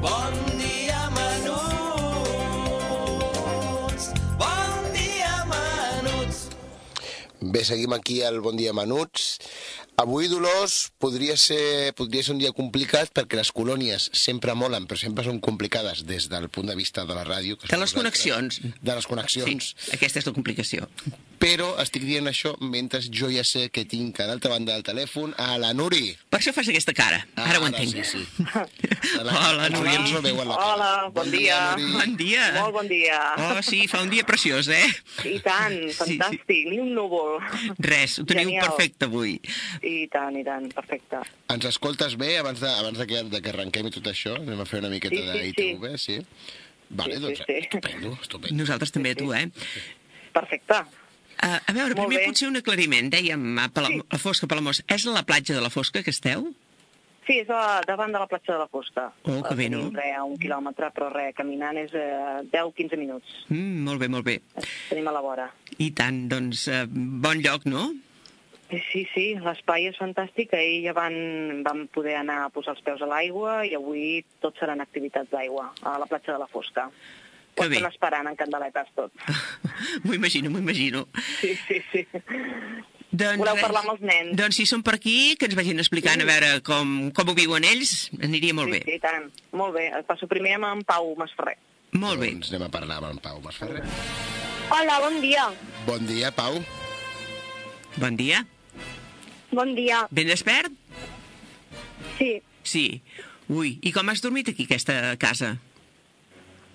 Bon dia, menuts. Bon dia, menuts. Bé, seguim aquí al Bon Dia Menuts. Avui, Dolors, podria ser, podria ser un dia complicat perquè les colònies sempre molen, però sempre són complicades des del punt de vista de la ràdio. Que De som les nosaltres, connexions. De les connexions. Sí, aquesta és la complicació. Però estic dient això mentre jo ja sé que tinc a l'altra banda del telèfon a la Nuri. Per això fas aquesta cara. Ara ho entenc. Ah, Sí, sí. Hola, Els Nuri. oients no veuen la cara. Hola, bon dia. Ah. Nuri. Bon dia. Molt bon dia. Oh, sí, fa un dia preciós, eh? I tant, Sí, fantàstic, ni un núvol. Res, ho teniu Genial. perfecte avui. I tant, i tant, perfecte. Ens escoltes bé abans de, abans de, que, de que arrenquem i tot això? Anem a fer una miqueta Sí, sí, d'ITV, sí. Vale, Sí, sí, doncs sí. estupendo, estupendo. Nosaltres també a tu, eh? Perfecte. A, a veure, Molt primer bé. potser un aclariment. Dèiem a Pala, Sí. la Fosca, Palamós. És a la platja de la Fosca que esteu? Sí, és a, davant de la platja de la Costa. Oh, que bé, no? Tenim Re, a un quilòmetre, però re, caminant és eh, 10-15 minuts. Mm, molt bé, molt bé. Tenim a la vora. I tant, doncs, eh, bon lloc, no? Sí, sí, l'espai és fantàstic. Ahir ja van, van poder anar a posar els peus a l'aigua i avui tot seran activitats d'aigua a la platja de la Fosca. Que Ho bé. estem esperant en candeletes tots. M'ho imagino, m'ho imagino. Sí, sí, sí. Doncs, Voleu res. parlar amb els nens? Doncs si són per aquí, que ens vagin explicant a veure com, com ho viuen ells, aniria molt bé. sí, Sí, i tant. Molt bé. El passo primer amb en Pau Masferrer. Molt bé. Doncs anem a parlar amb en Pau Masferrer. Hola, bon dia. Bon dia, Pau. Bon dia. Bon dia. Ben despert? Sí, Sí. Ui, i com has dormit aquí, aquesta casa?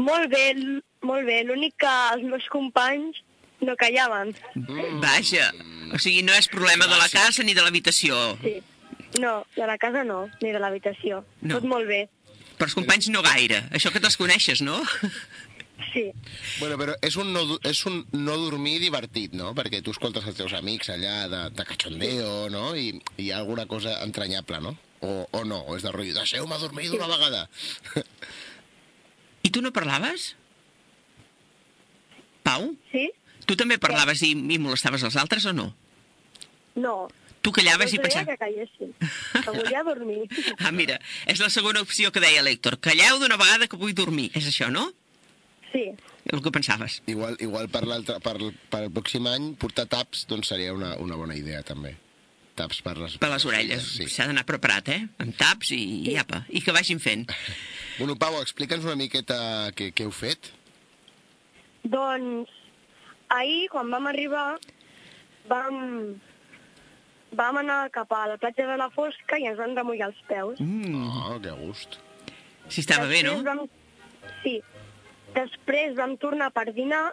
molt bé, l- molt bé. L'únic que els meus companys no callaven. Mm. Vaja, o sigui, no és problema de la casa ni de l'habitació. Sí. No, de la casa no, ni de l'habitació. No. Tot molt bé. Però els companys no gaire. Això que te'ls coneixes, no? Sí, Bueno, però és un, no, du- és un no dormir divertit, no? Perquè tu escoltes els teus amics allà de, de cachondeo, no? I, I hi ha alguna cosa entranyable, no? O, o no, o és de rotllo, deixeu-me dormir d'una vegada. I tu no parlaves? Pau? sí? Tu també parlaves i, i molestaves els altres o no? No. Tu callaves Els i Doncs deia pensaves... que callessin. Que volia dormir. Ah, mira, és la segona opció que deia l'Hèctor. Calleu d'una vegada que vull dormir. És això, no? Sí, El que pensaves. Igual, igual per, l'altre- per, per el pròxim any portar taps doncs seria una, una bona idea, també. Taps per les, Per les orelles. S'ha Sí. d'anar preparat, eh? Amb taps i, i apa. I que vagin fent. Bueno, Pau, explica'ns una miqueta què, què heu fet. doncs ahir quan vam arribar vam, vam anar cap a la platja de la Fosca i ens vam remullar els peus. Mm, Oh, que gust. si estava bé, no? Vam... Sí. Després vam tornar per dinar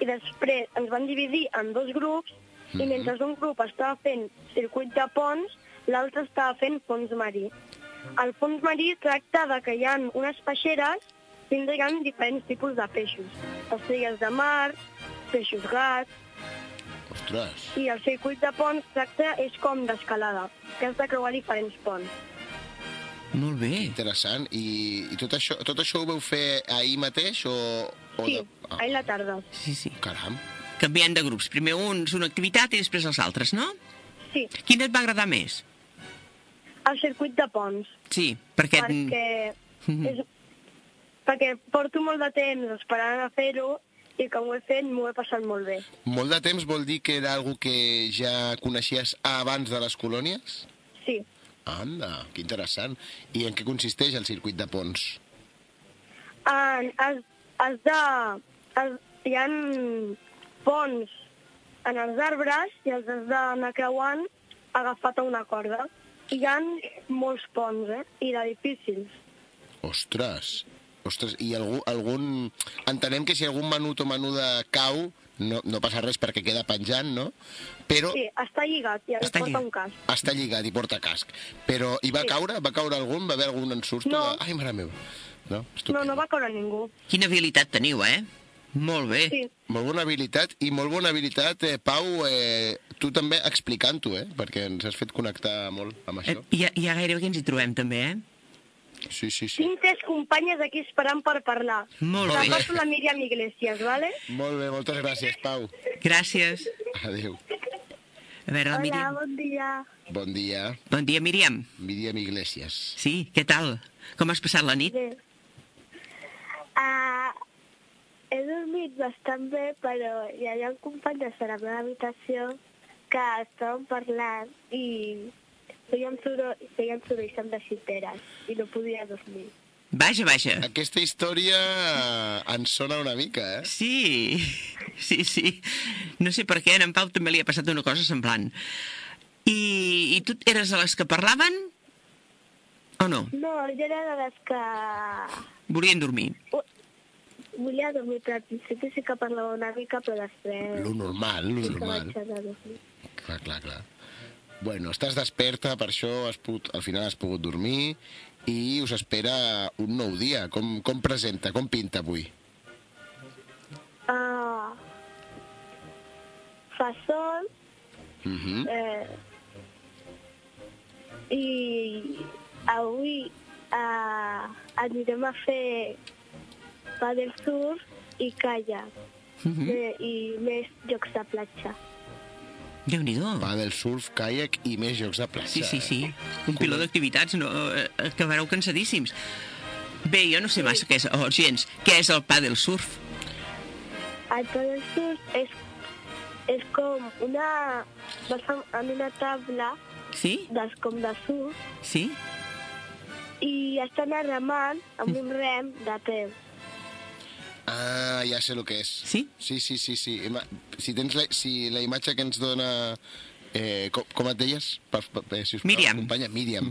i després ens van dividir en dos grups mm -hmm. Mhm. i mentre un grup estava fent circuit de ponts, l'altre estava fent fons marí. El fons marí tracta de que hi ha unes peixeres dins hi ha diferents tipus de peixos. Estrelles de mar, peixos gats, Ostres. i el circuit de ponts tracta és com d'escalada, que has de creuar diferents ponts. Molt bé. Interessant. I, i tot, això, tot això ho vau fer ahir mateix o... o Sí, de- Ah, ahir a la tarda. Sí, sí. Caram. Canviant de grups. Primer uns una activitat i després els altres, no? Sí, Quina et va agradar més? el circuit de ponts. Sí, perquè... mm, Mhm. perquè, és, perquè porto molt de temps esperant a fer-ho i com ho he fet m'ho he passat molt bé. Molt de temps vol dir que era algo que ja coneixies abans de les colònies? Sí. Anda, que interessant. I en què consisteix el circuit de ponts? En, has, has de... Has, hi ha ponts en els arbres i els has d'anar creuant agafat a una corda. Hi ha molts ponts, eh? I de difícils. Ostres, ostres, i algú, algun... Entenem que si algun menut o menuda cau, no, no passa res perquè queda penjant, no? Però Sí, està lligat i ens Està porta lligat. un cas. està lligat i porta casc. Però hi va Sí. caure? Va caure algun? Va haver algun ensurt? No. De... Ai, mare meva. No, No, estupendo. no va caure ningú. Quina habilitat teniu, eh? Molt bé. Sí. Molt bona habilitat, i molt bona habilitat, eh, Pau, eh, tu també explicant-ho, eh? Perquè ens has fet connectar molt amb Eh, això. hi, ha, hi ha gairebé que ens hi trobem, també, eh? Sí, sí, sí. Tinc tres companyes aquí esperant per parlar. Molt La bé. passo la Míriam Iglesias, ¿vale? Molt bé, moltes gràcies, Pau. Gràcies. Adéu. A veure, Ah, la Míriam. bon dia. Bon dia, Bon dia, Míriam. Míriam Iglesias. Sí, què tal? Com has passat la nit? Bé, Ah, he dormit bastant bé, però hi havia companyes de la meva habitació que estaven parlant i feien soroll, feien soroll de xiteres i no podia dormir. Vaja, vaja. Aquesta història eh, ens sona una mica, eh? Sí, sí, sí. No sé per què, a en Pau també li ha passat una cosa semblant. I, i tu eres de les que parlaven o no? No, jo era de les que Volien dormir. volia dormir, però al principi sí que parlava una mica, però després Lo normal, lo sí que vaig normal. deixar de dormir. Clar, clar, clar. Bueno, estàs desperta, per això has pogut, al final has pogut dormir i us espera un nou dia. Com, com presenta, com pinta avui? Ah, fa sol, Uh -huh. Eh, I avui eh, anirem a fer paddle surf i calla. Mm I més jocs de platja. Déu-n'hi-do. Va del surf, kayak i més jocs de plaça. Sí, sí, sí. Un piló d'activitats, no, eh, acabareu cansadíssims. Bé, jo no sé massa què és, o gens, què és el paddle surf. El paddle surf és, és com una... vas amb- en una tabla Sí? des, com de surf Sí? i estan remant amb un rem de peu. Ah, ja sé el que és. Sí? Sí, sí, sí. sí. Ima- Si tens la, si la imatge que ens dona... Eh, com, com et deies? Per, per, eh, si us plau, Míriam. Companya, Míriam.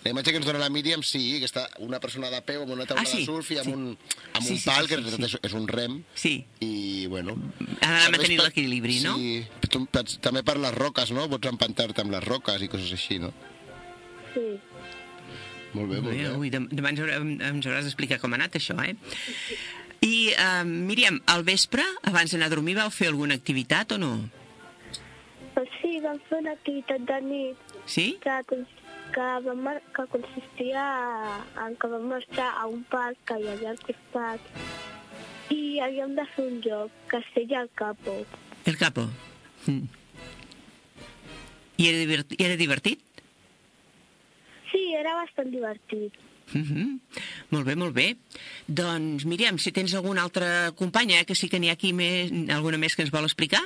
La imatge que ens dona la Míriam, sí, que està una persona de peu amb una taula Ah, sí, de surf i amb sí. un, amb Sí, un pal, sí, sí, que sí, en realitat sí. és- és un rem, Sí. i, bueno... Ha d'anar També és mantenint per- l'equilibri, no? Sí, tu, pots- també per les roques, no? Pots empantar-te amb les roques i coses així, no? Sí. Molt bé, molt Bé, bé. ui, dem- demà ens, haurà, ens hauràs d'explicar com ha anat això, eh? I, uh, Míriam, al vespre, abans d'anar a dormir, vau fer alguna activitat o no? Però sí, vam fer una activitat de nit Sí? que, cons- que, vam, mar- que consistia en que vam estar a un parc que hi havia al costat i havíem de fer un joc que es feia al capo. El capo. Mm. I era, divertit, era divertit? Sí, era bastant divertit. Mm -hmm. Molt bé, molt bé. Doncs, Míriam, si tens alguna altra companya, eh, que sí que n'hi ha aquí més, alguna més que ens vol explicar?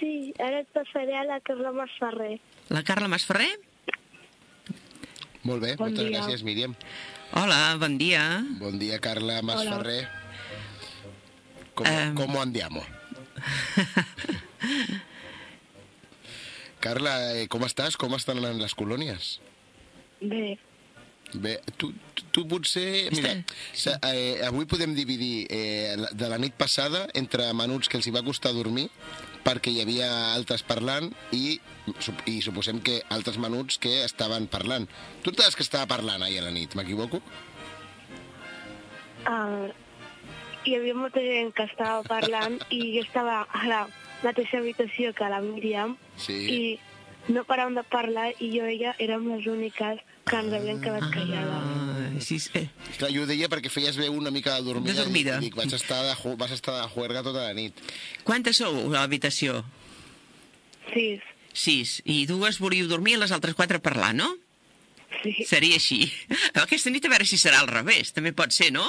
Sí, ara et passaré a la Carla Masferrer. La Carla Masferrer? Molt bé, Bon moltes dia. gràcies, Míriam. Hola, bon dia. Bon dia, Carla Masferrer. Com, Em. ¿Cómo andiamo? Carla, eh, com estàs? Com estan anant les colònies? Bé, Bé, tu, tu, tu potser... Mira, sa- eh, avui podem dividir eh, la- de la nit passada entre menuts que els hi va costar dormir perquè hi havia altres parlant i, sup- i suposem que altres menuts que estaven parlant. Tu entes que estava parlant ahir a la nit, m'equivoco? Uh, hi havia molta gent que estava parlant i jo estava a la mateixa habitació que la Míriam Sí. i no paràvem de parlar i jo i ella érem les úniques que ens havíem quedat callades. Ah, sí, sí. Clar, jo ho deia perquè feies veu una mica de dormida. De dormida. I dic, vaig estar de, ju- vas estar de juerga tota la nit. Quantes sou a l'habitació? sis. Sis. I dues volíeu dormir i les altres quatre parlar, no? Sí. Seria així. Aquesta nit a veure si serà al revés. També pot ser, no?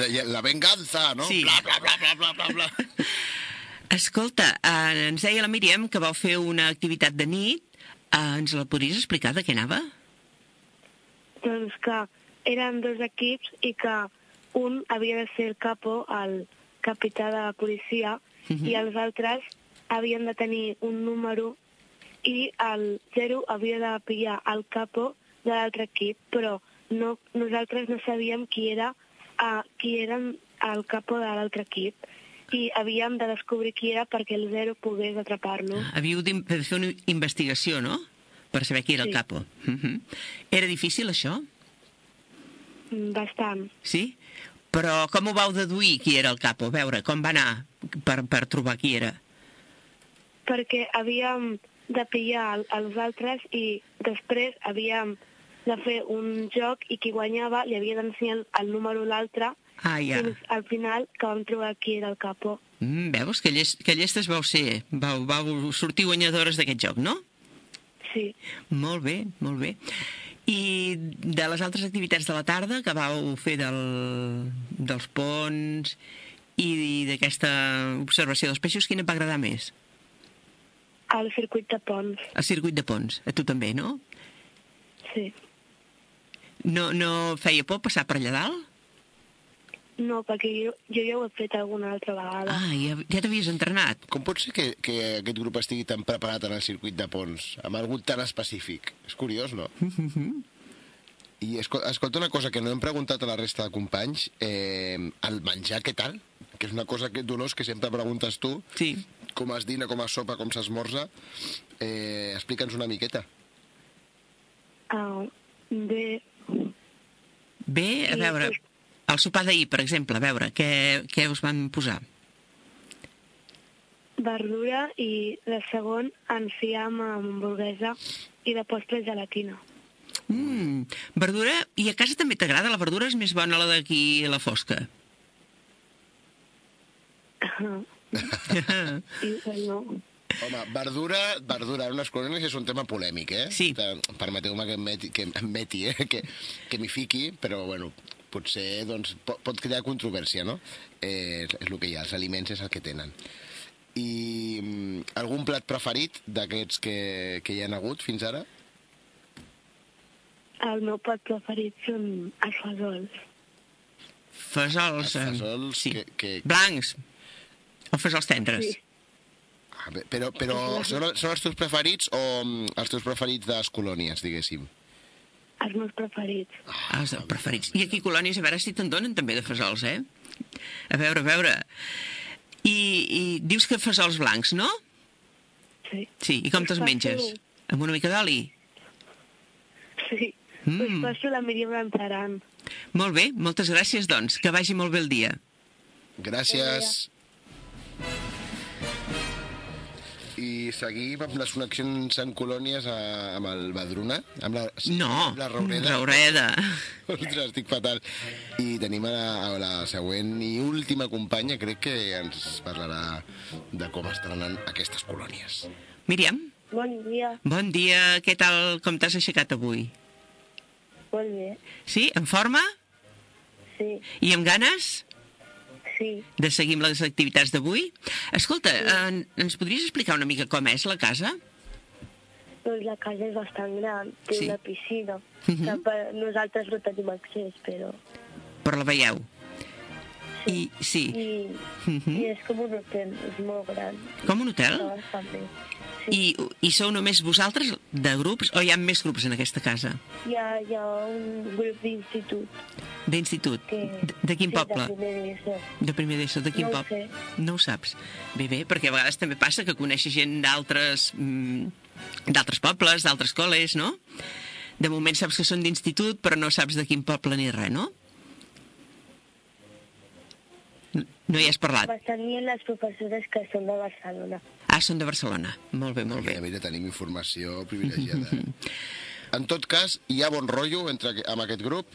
La, la venganza, no? Sí. Bla, bla, bla, bla, bla, bla, bla. Escolta, eh, ens deia la Míriam que vau fer una activitat de nit. Eh, ens la podries explicar de què anava? Doncs que eren dos equips i que un havia de ser el capo, el capità de la policia, i els altres havien de tenir un número i el zero havia de pillar el capo de l'altre equip, però no, nosaltres no sabíem qui era uh, qui era el capo de l'altre equip i havíem de descobrir qui era perquè el zero pogués atrapar-lo. Havíeu d'im- de fer una investigació, no? Per saber qui era el Sí. capo. Mm -hmm. Era difícil, això? Mm, Bastant. Sí? Però com ho vau deduir, qui era el capo? A veure, com va anar per, per trobar qui era? perquè havíem de pillar el- els altres i després havíem de fer un joc i qui guanyava li havia d'ensenyar el, el número a l'altre Ah, ja. fins al final que vam trobar qui era el capo. Mm, veus que, llest, que llestes vau ser, vau, vau sortir guanyadores d'aquest joc, no? Sí. Molt bé, molt bé. I de les altres activitats de la tarda que vau fer del, dels ponts i d'aquesta observació dels peixos, quina et va agradar més? al circuit de ponts, El circuit de ponts, a tu també, no? sí. No, no feia por passar per allà dalt? No, perquè jo, jo ja ho he fet alguna altra vegada. Ah, ja, ja t'havies entrenat. Com pot ser que, que aquest grup estigui tan preparat en el circuit de ponts, amb algú tan específic? És curiós, no? I esco- escolta una cosa que no hem preguntat a la resta de companys, eh, el menjar què tal? Que és una cosa que, Dolors, que sempre preguntes tu, Sí. com es dina, com es sopa, com s'esmorza. Eh, Explica'ns una miqueta. Ah, bé, Bé, a Sí, veure, sí. el sopar d'ahir, per exemple, a veure, què, què us van posar? verdura i de segon enciam amb hamburguesa i de postre gelatina. Mm, verdura, i a casa també t'agrada? La verdura és més bona la d'aquí a la fosca. I bueno, Home, verdura, verdura, unes corones és un tema polèmic, eh? Sí. O sigui, Permeteu-me que em meti, que em meti eh? que, que m'hi fiqui, però, bueno, potser doncs, pot, pot crear controvèrsia, no? Eh, és el que hi ha, els aliments és el que tenen. I mm, algun plat preferit d'aquests que, que hi han hagut fins ara? el meu plat preferit són els fesols. Fesols... Els eh, fesols sí. que- que- Blancs. O fesols tendres. Sí. Ah, bé, però però són, són els teus preferits o mm, els teus preferits de les colònies, diguéssim? Els meus preferits. Ah, Els preferits. I aquí colònies, a veure si te'n donen també de fesols, eh? A veure, a veure... I, i dius que fesols blancs, no? Sí, Sí, i com Us te'ls passo- menges? Amb una mica d'oli? sí. Mm. Mm. Us passo la Míriam Lanzaran. Molt bé, moltes gràcies, doncs. Que vagi molt bé el dia. Gràcies. I seguim amb les connexions en colònies a, amb el Badruna, amb la, No, amb la Raureda. Raureda. Ostres, estic fatal. I tenim a la, a la següent i última companya, crec que ens parlarà de com estan anant aquestes colònies. Míriam, Bon dia, bon dia. Què tal, com t'has aixecat avui? molt bé. Sí, en forma? Sí, I amb ganes? sí. de seguir amb les activitats d'avui. Escolta, eh, ens podries explicar una mica com és la casa? Doncs la casa és bastant gran, té Sí. una piscina. Mhm. que per nosaltres no tenim accés, però... Però la veieu. I, sí, I, Mhm. i és com un hotel, és molt gran. com un hotel? Llavors també. Sí, I, I sou només vosaltres de grups o hi ha més grups en aquesta casa? hi ha, hi ha un grup d'institut D'institut? que... De, de quin sí, poble? De primer d'ESO. De primer d'ESO, de quin No ho poble? sé. No ho saps. Bé, bé, perquè a vegades també passa que coneixes gent d'altres mm, d'altres pobles, d'altres col·les, no? De moment saps que són d'institut, però no saps de quin poble ni res, no? No- No hi has parlat? Bastant bien les professores que són de Barcelona. Ah, són de Barcelona. Molt bé, molt Mira, bé. mira, tenim informació privilegiada. En tot cas, hi ha bon rotllo entre, amb aquest grup?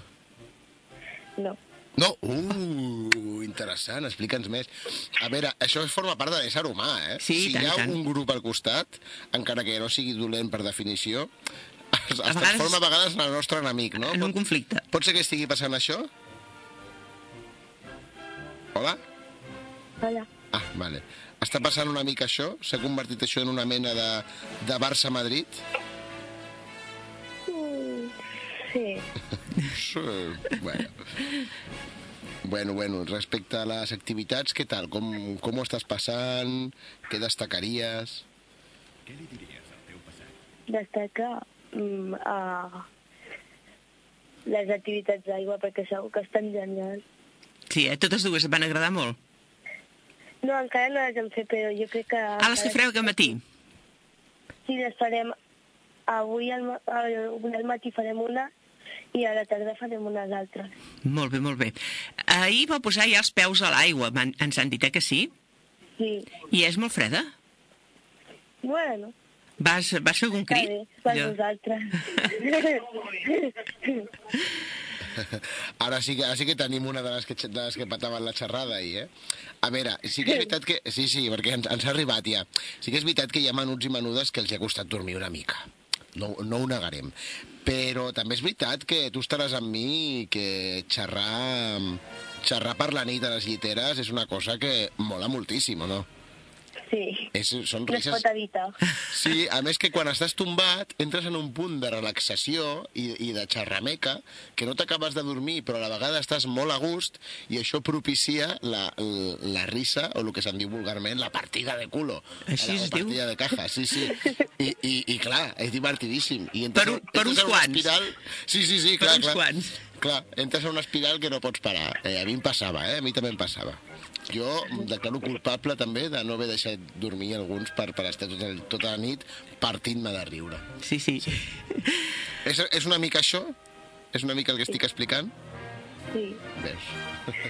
No, No, uh, interessant, explica'ns més. A veure, això forma part de l'ésser humà, eh? Sí, si tant, hi ha tant. un grup al costat, encara que no sigui dolent per definició, es, es A vegades- transforma a vegades en el nostre enemic, no? En un Pot, conflicte. pot ser que estigui passant això? Hola? hola. Ah, vale. Està passant una mica això? S'ha convertit això en una mena de, de Barça-Madrid? Mm, Sí, Sí, bueno. Bueno, bueno, respecte a les activitats, què tal? Com, com ho estàs passant? Què destacaries? destaca mm, a les activitats d'aigua perquè segur que estan genials. Sí, eh? totes dues et van agradar molt. No, encara no les hem fet, però jo crec que... Ah, les que fareu aquest matí? Sí, les farem... Avui al, ma- avui al matí farem una i a la tarda farem unes altres. Molt bé, molt bé. Ahir va posar ja els peus a l'aigua, m'han- ens han dit eh, que sí? Sí, I és molt freda? bueno, Vas, vas fer algun està crit? bé, per Allò. nosaltres. Ara sí que, ara sí que tenim una de les que, de les que pataven la xerrada ahir, eh? A veure, sí que és veritat que... Sí, sí, perquè ens, ens ha arribat ja. Sí que és veritat que hi ha menuts i menudes que els hi ha costat dormir una mica. No, no ho negarem. Però també és veritat que tu estaràs amb mi i que xerrar, xerrar per la nit a les lliteres és una cosa que mola moltíssim, o no? Sí. És, són No es risques... pot evitar. Sí, a més que quan estàs tombat entres en un punt de relaxació i, i de xerrameca que no t'acabes de dormir, però a la vegada estàs molt a gust i això propicia la, la, la risa, o el que se'n diu vulgarment, la partida de culo. Així la, o es diu? partida de caja, sí, sí. I, i, i clar, és divertidíssim. I entres, Per un- per entres uns en una quants. Espiral... Sí, sí, sí, Per clar, uns clar. quants. Clar, entres en una espiral que no pots parar. Eh, a mi em passava, eh? A mi també em passava. Jo em declaro culpable també de no haver deixat dormir alguns per, per estar tota, tota la nit partint-me de riure. Sí, sí. És, és una mica això? És una mica el que estic explicant? Sí. Veus.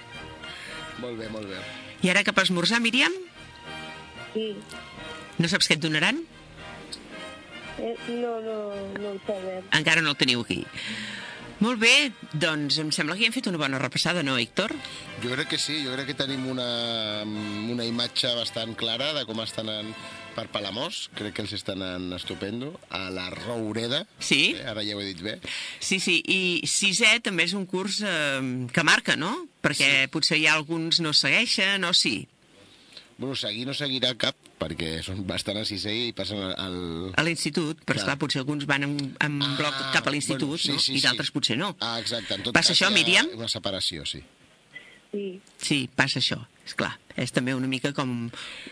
molt bé, molt bé. I ara cap a esmorzar, Míriam? Sí. No saps què et donaran? Eh, no, no, no ho sabem. Encara no el teniu aquí. Molt bé, doncs em sembla que ja hem fet una bona repassada, no, Héctor? Jo crec que sí, jo crec que tenim una, una imatge bastant clara de com estan anant per Palamós, crec que els estan anant estupendo, a la Roureda, Sí. eh, ara ja ho he dit bé, Sí, sí, i sisè també és un curs eh, que marca, no? Perquè sí. potser hi ha alguns no segueixen, o sí. bueno, seguir no seguirà cap, perquè són bastant a sisè i passen al... A l'institut, però Clar. esclar, potser alguns van en, en Ah, bloc Mm, cap a l'institut, bueno, sí, no? sí, I sí. d'altres potser no. Ah, exacte. En tot Passa cas, això, hi ha Míriam? Una separació, sí. Sí. Sí, passa això, és clar. És també una mica com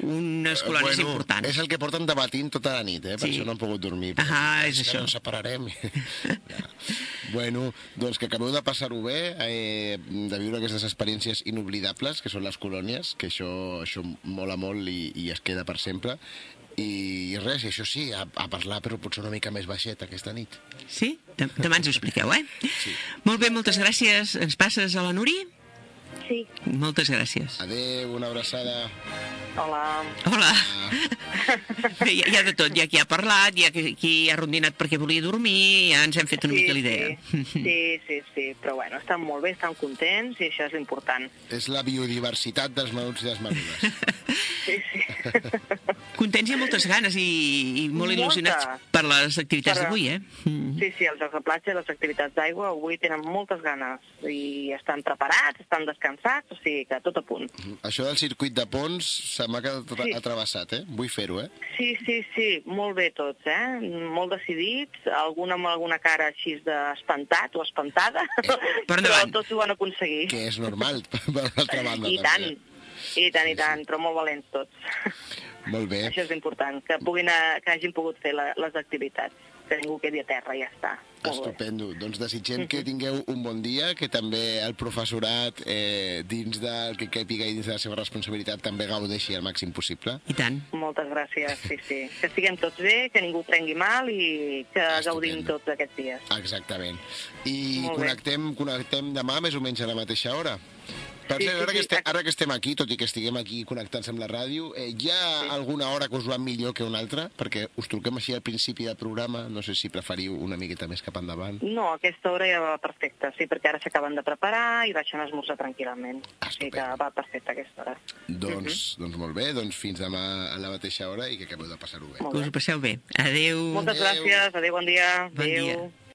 unes colònies Eh, Bueno, importants. És el que porten debatint tota la nit, eh? Per Sí. això no han pogut dormir. Ah, és que això. No ens separarem. Ja. bueno, doncs que acabeu de passar-ho bé, eh, de viure aquestes experiències inoblidables, que són les colònies, que això, això mola molt i, i es queda per sempre. I, i res, i això sí, a, a parlar, però potser una mica més baixet aquesta nit. Sí? De- Demà ens ho expliqueu, eh? Sí. Molt bé, moltes gràcies. Ens passes a la Nuri? Sí. Moltes gràcies. Adeu, una abraçada. Hola. Hola. Bé, hi, ha- hi ha de tot. Hi ha qui ha parlat, hi ha qui qui ha rondinat perquè volia dormir, ja ens hem fet una mica la idea. Sí, sí, sí, sí, però bueno, estan molt bé, estan contents i això és l'important. És la biodiversitat dels menuts i les menudes. Sí, sí. Contents i amb moltes ganes i, i molt Moltes. il·lusionats per les activitats Per- d'avui, eh? Mm. Sí, sí, els jocs de platja i les activitats d'aigua avui tenen moltes ganes i estan preparats, estan descansats, o sigui que tot a punt. Això del circuit de ponts se m'ha quedat atra- Sí. atrevessat, eh? Vull fer-ho, eh? Sí, sí, sí, molt bé tots, eh? Molt decidits, alguna amb alguna cara així d'espantat o espantada, per però endavant. tots ho van aconseguir. que és normal, per una altra banda. I tant, també. i tant, i tant, però molt valents tots. eh? Molt bé. Això és important, que puguin a, que hagin pogut fer la, les activitats, que ningú quedi a terra, ja està. Molt bé. Estupendo. Doncs desitgem que tingueu un bon dia, que també el professorat, eh, dins del que càpiga i dins de la seva responsabilitat, també gaudeixi el màxim possible. I tant. Moltes gràcies, sí, sí. Que estiguem tots bé, que ningú ho prengui mal i que Estupendo. gaudim tots aquests dies. Exactament. I Molt bé. connectem, connectem demà més o menys a la mateixa hora. Per Sí, cert, sí, ara, que sí, estem, exacte. ara que estem aquí, tot i que estiguem aquí connectant-se amb la ràdio, eh, hi ha sí. alguna hora que us va millor que una altra? Perquè us truquem així al principi del programa, no sé si preferiu una miqueta més cap endavant. No, aquesta hora ja va perfecta, sí, perquè ara s'acaben de preparar i baixen a esmorzar tranquil·lament. O sigui que Ah, Estupendo. va perfecta aquesta hora. Doncs, doncs molt bé, doncs fins demà a la mateixa hora i que acabeu de passar-ho bé. Molt Que us ho passeu bé. Adéu. Moltes Adéu. gràcies, adéu, bon dia. Bon dia. Adéu.